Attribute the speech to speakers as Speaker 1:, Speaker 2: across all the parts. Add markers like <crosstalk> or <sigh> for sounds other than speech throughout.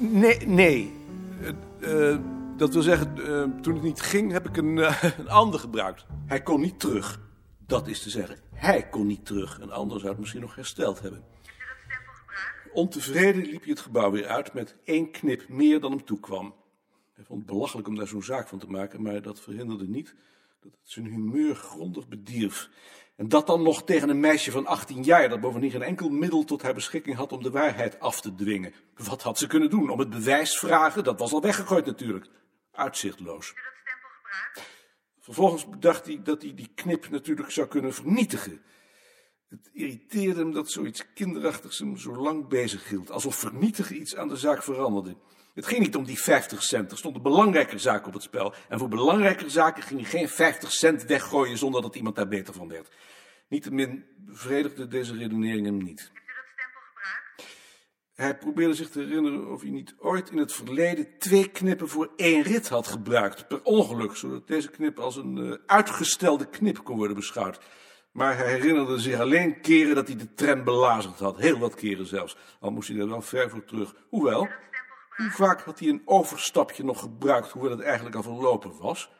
Speaker 1: Nee. Eh, eh, dat wil zeggen, eh, toen het niet ging, heb ik een, eh, <laughs> een ander gebruikt. Hij kon niet terug. Dat is te zeggen, hij kon niet terug. Een ander zou het misschien nog hersteld hebben. Ontevreden liep hij het gebouw weer uit met één knip meer dan hem toekwam. Hij vond het belachelijk om daar zo'n zaak van te maken, maar dat verhinderde niet dat het zijn humeur grondig bedierf. En dat dan nog tegen een meisje van 18 jaar, dat bovendien geen enkel middel tot haar beschikking had om de waarheid af te dwingen. Wat had ze kunnen doen? Om het bewijs vragen? Dat was al weggegooid natuurlijk. Uitzichtloos. Vervolgens bedacht hij dat hij die knip natuurlijk zou kunnen vernietigen. Het irriteerde hem dat zoiets kinderachtigs hem zo lang bezig hield. Alsof vernietigen iets aan de zaak veranderde. Het ging niet om die 50 cent. Er stond een belangrijke zaak op het spel. En voor belangrijke zaken ging hij geen 50 cent weggooien zonder dat iemand daar beter van werd. Niettemin bevredigde deze redenering hem niet. Hij probeerde zich te herinneren of hij niet ooit in het verleden twee knippen voor één rit had gebruikt. Per ongeluk, zodat deze knip als een eh, uitgestelde knip kon worden beschouwd. Maar hij herinnerde zich alleen keren dat hij de tram belazerd had. Heel wat keren zelfs. Al moest hij er wel ver voor terug. Hoewel, hoe vaak had hij een overstapje nog gebruikt, hoewel het eigenlijk al verlopen was?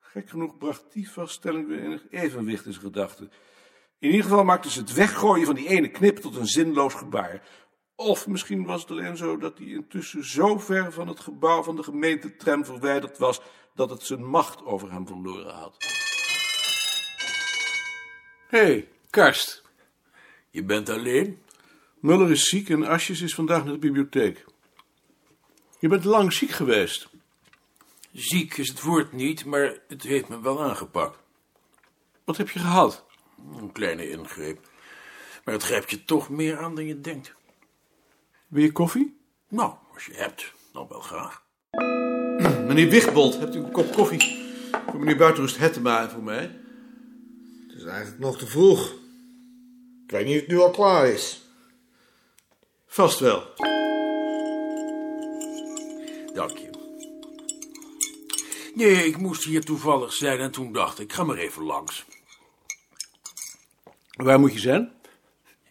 Speaker 1: Gek genoeg bracht die vaststelling weer enig evenwicht in zijn gedachten. In ieder geval maakte ze het weggooien van die ene knip tot een zinloos gebaar. Of misschien was het alleen zo dat hij intussen zo ver van het gebouw van de gemeentetram verwijderd was dat het zijn macht over hem verloren had.
Speaker 2: Hé, hey, Karst. Je bent alleen?
Speaker 1: Muller is ziek en Asjes is vandaag naar de bibliotheek. Je bent lang ziek geweest.
Speaker 2: Ziek is het woord niet, maar het heeft me wel aangepakt.
Speaker 1: Wat heb je gehad?
Speaker 2: Een kleine ingreep. Maar het grijpt je toch meer aan dan je denkt.
Speaker 1: Wil je koffie?
Speaker 2: Nou, als je hebt, dan wel graag.
Speaker 3: <clears throat> Meneer Wichbold, hebt u een kop koffie voor meneer Buitenrust Hettema en voor mij?
Speaker 4: Het is eigenlijk nog te vroeg. Ik weet niet of het nu al klaar is.
Speaker 3: Vast wel.
Speaker 2: Dank je. Nee, ik moest hier toevallig zijn en toen dacht ik, ga maar even langs.
Speaker 3: Waar moet je zijn?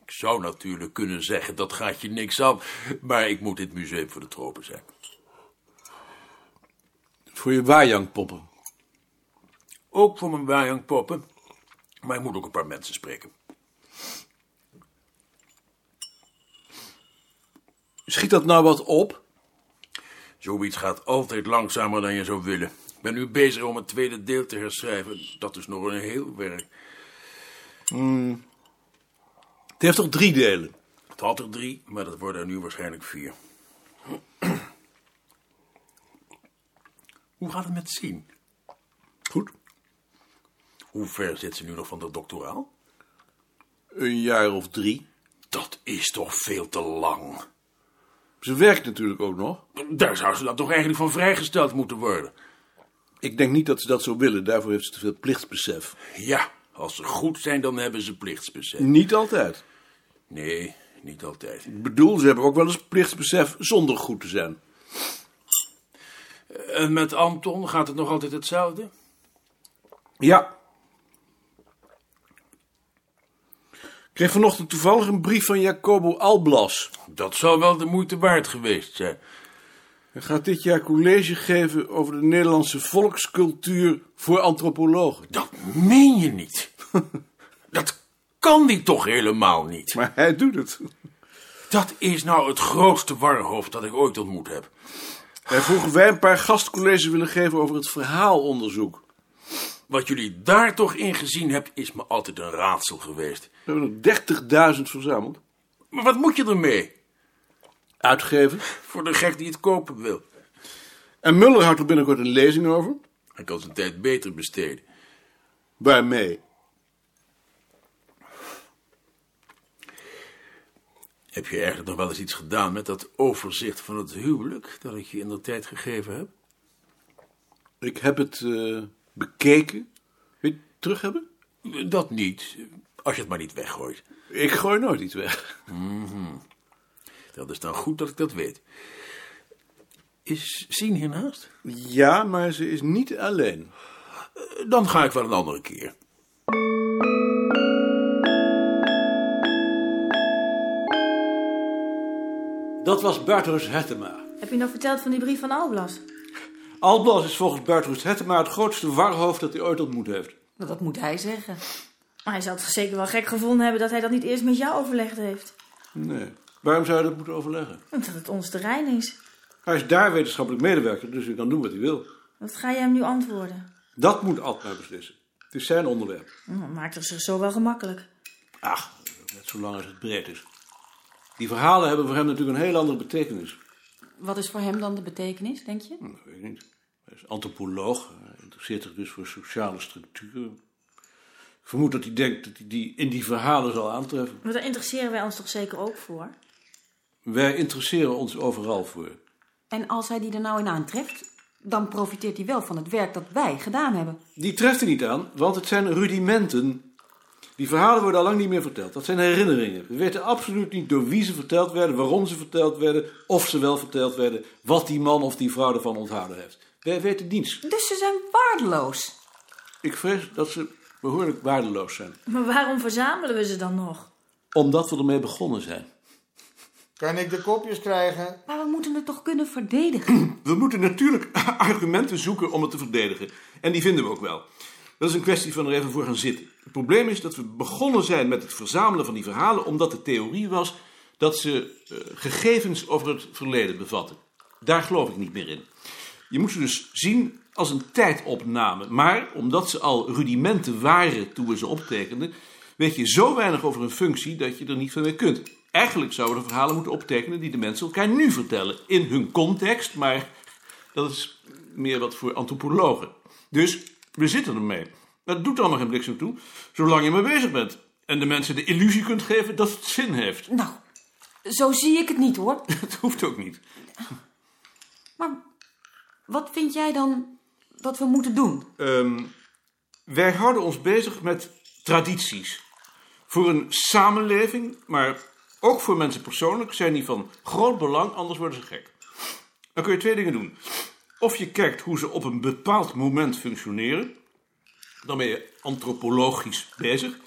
Speaker 2: Ik zou natuurlijk kunnen zeggen, dat gaat je niks af, maar ik moet in het museum voor de tropen zijn.
Speaker 3: Voor je waaiangpoppen.
Speaker 2: Ook voor mijn wajangpoppen, maar ik moet ook een paar mensen spreken.
Speaker 3: Schiet dat nou wat op?
Speaker 2: Zoiets gaat altijd langzamer dan je zou willen. Ik ben nu bezig om het tweede deel te herschrijven. Dat is nog een heel werk.
Speaker 3: Het heeft toch drie delen?
Speaker 2: Het had er drie, maar dat worden er nu waarschijnlijk vier. Hoe gaat het met zien?
Speaker 3: Goed.
Speaker 2: Hoe ver zit ze nu nog van dat doctoraal?
Speaker 3: Een jaar of drie.
Speaker 2: Dat is toch veel te lang.
Speaker 3: Ze werkt natuurlijk ook nog.
Speaker 2: Daar zou ze dan toch eigenlijk van vrijgesteld moeten worden.
Speaker 3: Ik denk niet dat ze dat zou willen. Daarvoor heeft ze te veel plichtsbesef.
Speaker 2: Ja, als ze goed zijn, dan hebben ze plichtsbesef.
Speaker 3: Niet altijd.
Speaker 2: Nee, niet altijd.
Speaker 3: Ik bedoel, ze hebben ook wel eens plichtsbesef zonder goed te zijn.
Speaker 2: En Eh, met Anton gaat het nog altijd hetzelfde?
Speaker 3: Ja. Ik kreeg vanochtend toevallig een brief van Jacobo Alblas.
Speaker 2: Dat zou wel de moeite waard geweest zijn.
Speaker 3: Hij gaat dit jaar college geven over de Nederlandse volkscultuur voor antropologen.
Speaker 2: Dat meen je niet. Dat kan die toch helemaal niet.
Speaker 3: Maar hij doet het.
Speaker 2: Dat is nou het grootste warhoofd dat ik ooit ontmoet heb.
Speaker 3: Hij vroeg wij een paar gastcolleges willen geven over het verhaalonderzoek.
Speaker 2: Wat jullie daar toch in gezien hebt, is me altijd een raadsel geweest.
Speaker 3: We hebben er 30.000 verzameld.
Speaker 2: Maar wat moet je ermee?
Speaker 3: Uitgeven.
Speaker 2: Voor de gek die het kopen wil.
Speaker 3: En Muller houdt er binnenkort een lezing over.
Speaker 2: Hij kan zijn tijd beter besteden.
Speaker 3: Waarmee?
Speaker 2: Heb je eigenlijk nog wel eens iets gedaan met dat overzicht van het huwelijk dat ik je in de tijd gegeven heb?
Speaker 3: Ik heb het eh, bekeken. Wil je het terug hebben?
Speaker 2: Dat niet, als je het maar niet weggooit. Mhm.
Speaker 3: Ik gooi nooit iets weg.
Speaker 2: Dat is dan goed dat ik dat weet. Is Sien hiernaast?
Speaker 3: Ja, maar ze is niet alleen.
Speaker 2: Eh, Dan ga ik wel een andere keer.
Speaker 5: Dat was Bertus Hettema.
Speaker 6: Heb je nog verteld van die brief van Alblas?
Speaker 1: Alblas is volgens Buitenrust Hettema het grootste warhoofd dat hij ooit ontmoet heeft.
Speaker 5: Nou, dat moet hij zeggen.
Speaker 6: Maar hij zal het zeker wel gek gevonden hebben dat hij dat niet eerst met jou overlegd heeft.
Speaker 1: Nee. Waarom zou hij dat moeten overleggen?
Speaker 6: Omdat het ons terrein is.
Speaker 1: Hij is daar wetenschappelijk medewerker, dus hij kan doen wat hij wil.
Speaker 6: Wat ga je hem nu antwoorden?
Speaker 1: Dat moet Altmaar beslissen. Het is zijn onderwerp.
Speaker 6: Nou, dan maakt het zich zo wel gemakkelijk.
Speaker 1: Ach, net zolang als het breed is. Die verhalen hebben voor hem natuurlijk een heel andere betekenis. Hm,
Speaker 5: Wat is voor hem dan de betekenis, denk je?
Speaker 1: Dat weet ik niet. Hij is antropoloog. Hij interesseert zich dus voor sociale structuren. Ik vermoed dat hij denkt dat hij die in die verhalen zal aantreffen.
Speaker 6: Maar daar interesseren wij ons toch zeker ook voor?
Speaker 1: Wij interesseren ons overal voor.
Speaker 5: En als hij die er nou in aantreft, dan profiteert hij wel van het werk dat wij gedaan hebben.
Speaker 1: Die treft er niet aan, want het zijn rudimenten. Die verhalen worden al lang niet meer verteld. Dat zijn herinneringen. We weten absoluut niet door wie ze verteld werden, waarom ze verteld werden, of ze wel verteld werden, wat die man of die vrouw ervan onthouden heeft. Wij weten niets.
Speaker 5: Dus ze zijn waardeloos.
Speaker 1: Ik vrees dat ze behoorlijk waardeloos zijn.
Speaker 6: Maar waarom verzamelen we ze dan nog?
Speaker 1: Omdat we ermee begonnen zijn.
Speaker 4: Kan ik de kopjes krijgen?
Speaker 5: Maar we moeten het toch kunnen verdedigen?
Speaker 1: We moeten natuurlijk <laughs> argumenten zoeken om het te verdedigen. En die vinden we ook wel. Dat is een kwestie van er even voor gaan zitten. Het probleem is dat we begonnen zijn met het verzamelen van die verhalen omdat de theorie was dat ze eh, gegevens over het verleden bevatten. Daar geloof ik niet meer in. Je moet ze dus zien als een tijdopname. Maar omdat ze al rudimenten waren toen we ze optekenden, weet je zo weinig over een functie dat je er niet van mee kunt. Eigenlijk zouden we de verhalen moeten optekenen die de mensen elkaar nu vertellen. In hun context, maar dat is meer wat voor antropologen. Dus we zitten ermee. Dat doet allemaal geen bliksem toe, zolang je maar bezig bent. En de mensen de illusie kunt geven dat het zin heeft. <laughs>
Speaker 5: nou, zo zie ik het niet hoor.
Speaker 1: Dat hoeft ook niet.
Speaker 5: Maar wat vind jij dan dat we moeten doen?
Speaker 1: Ehm, wij houden ons bezig met tradities. Voor een samenleving, maar ook voor mensen persoonlijk, zijn die van groot belang, anders worden ze gek. Dan kun je twee dingen doen. Of je kijkt hoe ze op een bepaald moment functioneren, dan ben je antropologisch bezig.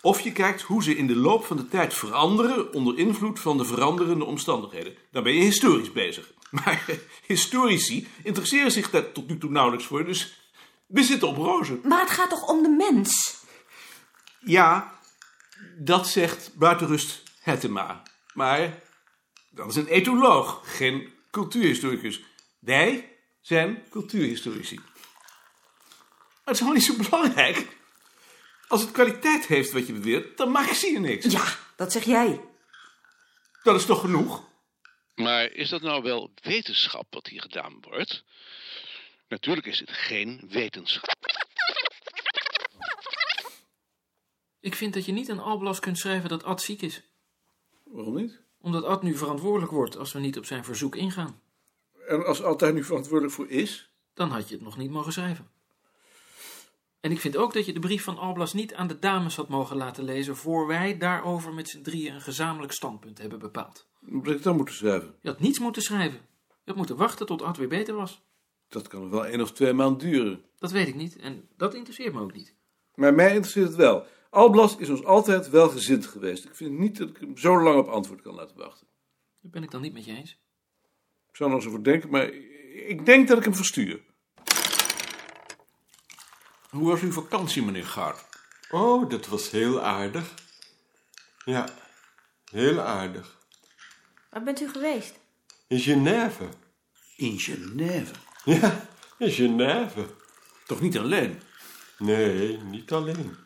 Speaker 1: Of je kijkt hoe ze in de loop van de tijd veranderen onder invloed van de veranderende omstandigheden. Dan ben je historisch bezig. <laughs> Maar eh, historici interesseren zich daar tot nu toe nauwelijks voor, dus we zitten op rozen.
Speaker 5: Maar het gaat toch om de mens?
Speaker 1: Ja, dat zegt buitenrust Hettema. Maar dat is een etoloog, geen cultuurhistoricus. Wij zijn cultuurhistorici. Maar het is helemaal niet zo belangrijk. Als het kwaliteit heeft wat je beweert, dan maakt zie je niks.
Speaker 5: Ja, dat zeg jij.
Speaker 1: Dat is toch genoeg?
Speaker 7: Maar is dat nou wel wetenschap wat hier gedaan wordt? Natuurlijk is dit geen wetenschap.
Speaker 8: Ik vind dat je niet aan Alblas kunt schrijven dat Ad ziek is.
Speaker 1: Waarom niet?
Speaker 8: Omdat Ad nu verantwoordelijk wordt als we niet op zijn verzoek ingaan.
Speaker 1: En als altijd nu verantwoordelijk voor is?
Speaker 8: Dan had je het nog niet mogen schrijven. En ik vind ook dat je de brief van Alblas niet aan de dames had mogen laten lezen... voor wij daarover met z'n drieën een gezamenlijk standpunt hebben bepaald.
Speaker 1: Moet ik het dan moeten schrijven?
Speaker 8: Je had niets moeten schrijven. Je had moeten wachten tot Ad weer beter was.
Speaker 1: Dat kan nog wel één of twee maanden duren.
Speaker 8: Dat weet ik niet en dat interesseert me ook niet.
Speaker 1: Maar mij interesseert het wel. Alblas is ons altijd welgezind geweest. Ik vind niet dat ik hem zo lang op antwoord kan laten wachten.
Speaker 8: Daar ben ik dan niet met je eens.
Speaker 1: Ik zou er nog eens over denken, maar ik denk dat ik hem verstuur. Hoe was uw vakantie, meneer Gaard?
Speaker 9: Oh, dat was heel aardig. Ja, heel aardig.
Speaker 6: Waar bent u geweest?
Speaker 9: In Genève.
Speaker 1: In Genève.
Speaker 9: Ja, in Genève.
Speaker 1: Toch niet alleen?
Speaker 9: Nee, niet alleen.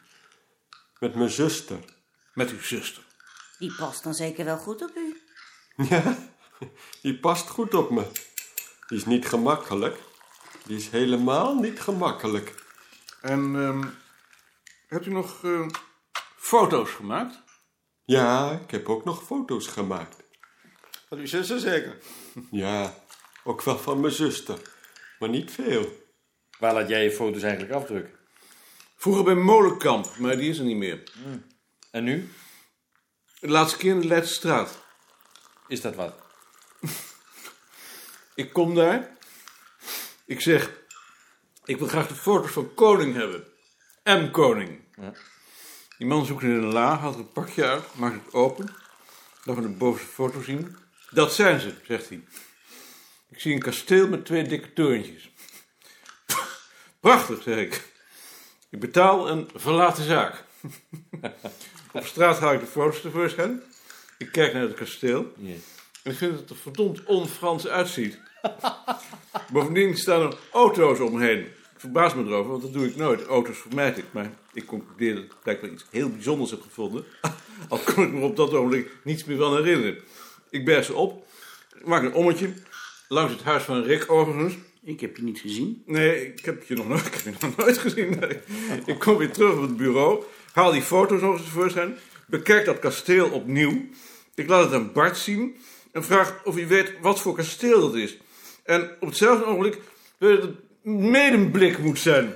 Speaker 9: Met mijn zuster.
Speaker 1: Met uw zuster.
Speaker 5: Die past dan zeker wel goed op u.
Speaker 9: Ja, die past goed op me. Die is niet gemakkelijk. Die is helemaal niet gemakkelijk.
Speaker 1: En ehm, hebt u nog eh, foto's gemaakt?
Speaker 9: Ja, ik heb ook nog foto's gemaakt.
Speaker 4: Van uw zussen zeker?
Speaker 9: Ja, ook wel van mijn zuster. Maar niet veel.
Speaker 4: Waar laat jij je foto's eigenlijk afdrukken?
Speaker 1: Vroeger bij Molenkamp, maar die is er niet meer.
Speaker 4: Mm. En nu?
Speaker 1: De laatste keer in de Leidse straat.
Speaker 4: Is dat wat?
Speaker 1: <laughs> Ik kom daar. Ik zeg, ik wil graag de foto's van Koning hebben. M. Koning. Die man zoekt in een la, haalt een pakje uit, maakt het open. Laat me de bovenste foto zien. Dat zijn ze, zegt hij. Ik zie een kasteel met twee dikke torentjes. <laughs> Prachtig, zeg ik. Ik betaal en verlaat de zaak. <laughs> Op straat haal ik de foto's tevoorschijn. Ik kijk naar het kasteel. En ik vind dat het er verdomd on-Frans uitziet. <laughs> Bovendien staan er auto's omheen. Ik verbaas me erover, want dat doe ik nooit. Auto's vermijd ik. Maar ik concludeer dat ik blijkbaar iets heel bijzonders heb gevonden. <laughs> Al kon ik me op dat ogenblik niets meer van herinneren. Ik berg ze op, maak een ommetje. Langs het huis van Rick overigens.
Speaker 10: Ik heb je niet gezien.
Speaker 1: Nee, ik heb je nog nooit, <laughs> ik heb je nog nooit gezien. Nee. Ik kom weer terug op het bureau, haal die foto's nog eens tevoorschijn, bekijk dat kasteel opnieuw. Ik laat het aan Bart zien en vraag of hij weet wat voor kasteel dat is. En op hetzelfde ogenblik weet ik dat het medemblik moet zijn.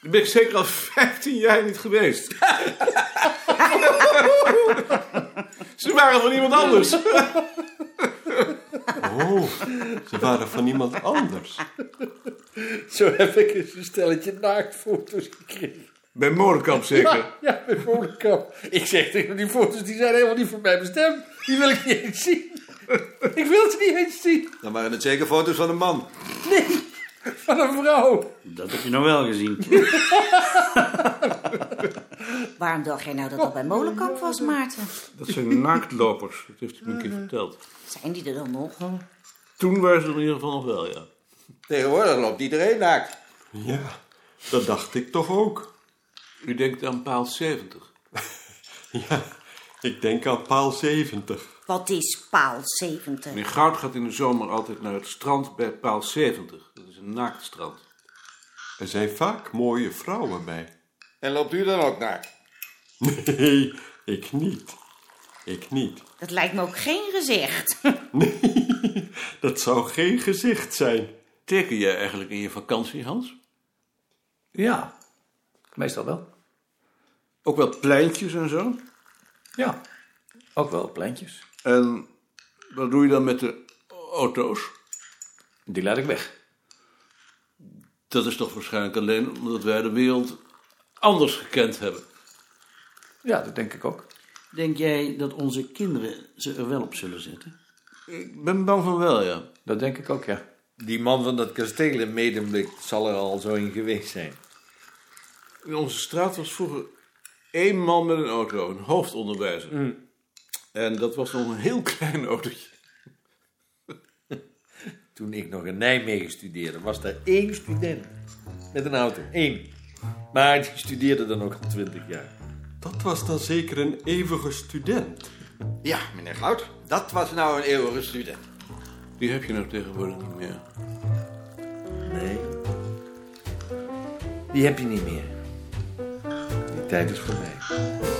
Speaker 1: Daar ben ik zeker al 15 jaar niet geweest. <laughs> Ze waren van iemand anders.
Speaker 9: Oh, ze waren van
Speaker 11: <laughs>
Speaker 9: iemand anders.
Speaker 10: Zo heb ik eens een stelletje naaktfoto's gekregen.
Speaker 1: Bij Molenkamp zeker.
Speaker 10: Ja, ja, bij Molenkamp. Ik zeg tegen hem, die foto's die zijn helemaal niet voor mij bestemd. Die wil ik niet eens zien. Ik wil ze niet eens zien.
Speaker 11: Dan waren het zeker foto's van een man.
Speaker 10: Van een vrouw.
Speaker 11: Dat heb je nog wel gezien.
Speaker 5: Waarom dacht jij nou dat dat bij Molenkamp was, Maarten?
Speaker 1: Dat zijn naaktlopers, dat heeft hij me een keer verteld.
Speaker 5: Zijn die er dan nog?
Speaker 1: Toen waren ze er in ieder geval nog wel, ja.
Speaker 11: Tegenwoordig loopt iedereen naakt.
Speaker 9: Ja, dat dacht ik toch ook.
Speaker 1: U denkt aan paal 70.
Speaker 9: Ja, ik denk aan paal 70.
Speaker 5: Wat is paal 70?
Speaker 1: Meneer Goud gaat in de zomer altijd naar het strand bij paal 70. Dat is een naaktstrand.
Speaker 9: Er zijn vaak mooie vrouwen bij.
Speaker 11: En loopt u dan ook naakt?
Speaker 9: Nee, ik niet. Ik niet.
Speaker 5: Dat lijkt me ook geen gezicht.
Speaker 9: Nee, dat zou geen gezicht zijn.
Speaker 1: Teken jij eigenlijk in je vakantie, Hans?
Speaker 10: Ja, meestal wel.
Speaker 1: Ook wel pleintjes en zo?
Speaker 10: Ja, ook wel pleintjes.
Speaker 1: En wat doe je dan met de auto's?
Speaker 10: Die laat ik weg.
Speaker 1: Dat is toch waarschijnlijk alleen omdat wij de wereld anders gekend hebben.
Speaker 10: Ja, dat denk ik ook.
Speaker 12: Denk jij dat onze kinderen ze er wel op zullen zetten?
Speaker 1: Ik ben bang van wel, ja.
Speaker 10: Dat denk ik ook, ja.
Speaker 11: Die man van dat kasteel in Medemblik zal er al zo in geweest zijn.
Speaker 1: In onze straat was vroeger één man met een auto, een hoofdonderwijzer.
Speaker 11: Mm.
Speaker 1: En dat was nog een heel <laughs> klein autootje.
Speaker 11: Toen ik nog in Nijmegen studeerde, was daar één student met een auto. Eén. Maar die studeerde dan ook al twintig jaar.
Speaker 9: Dat was dan zeker een eeuwige student.
Speaker 11: Ja, meneer Goud, dat was nou een eeuwige student.
Speaker 1: Die heb je nou tegenwoordig niet meer.
Speaker 11: Nee. Die heb je niet meer. Die tijd is voorbij.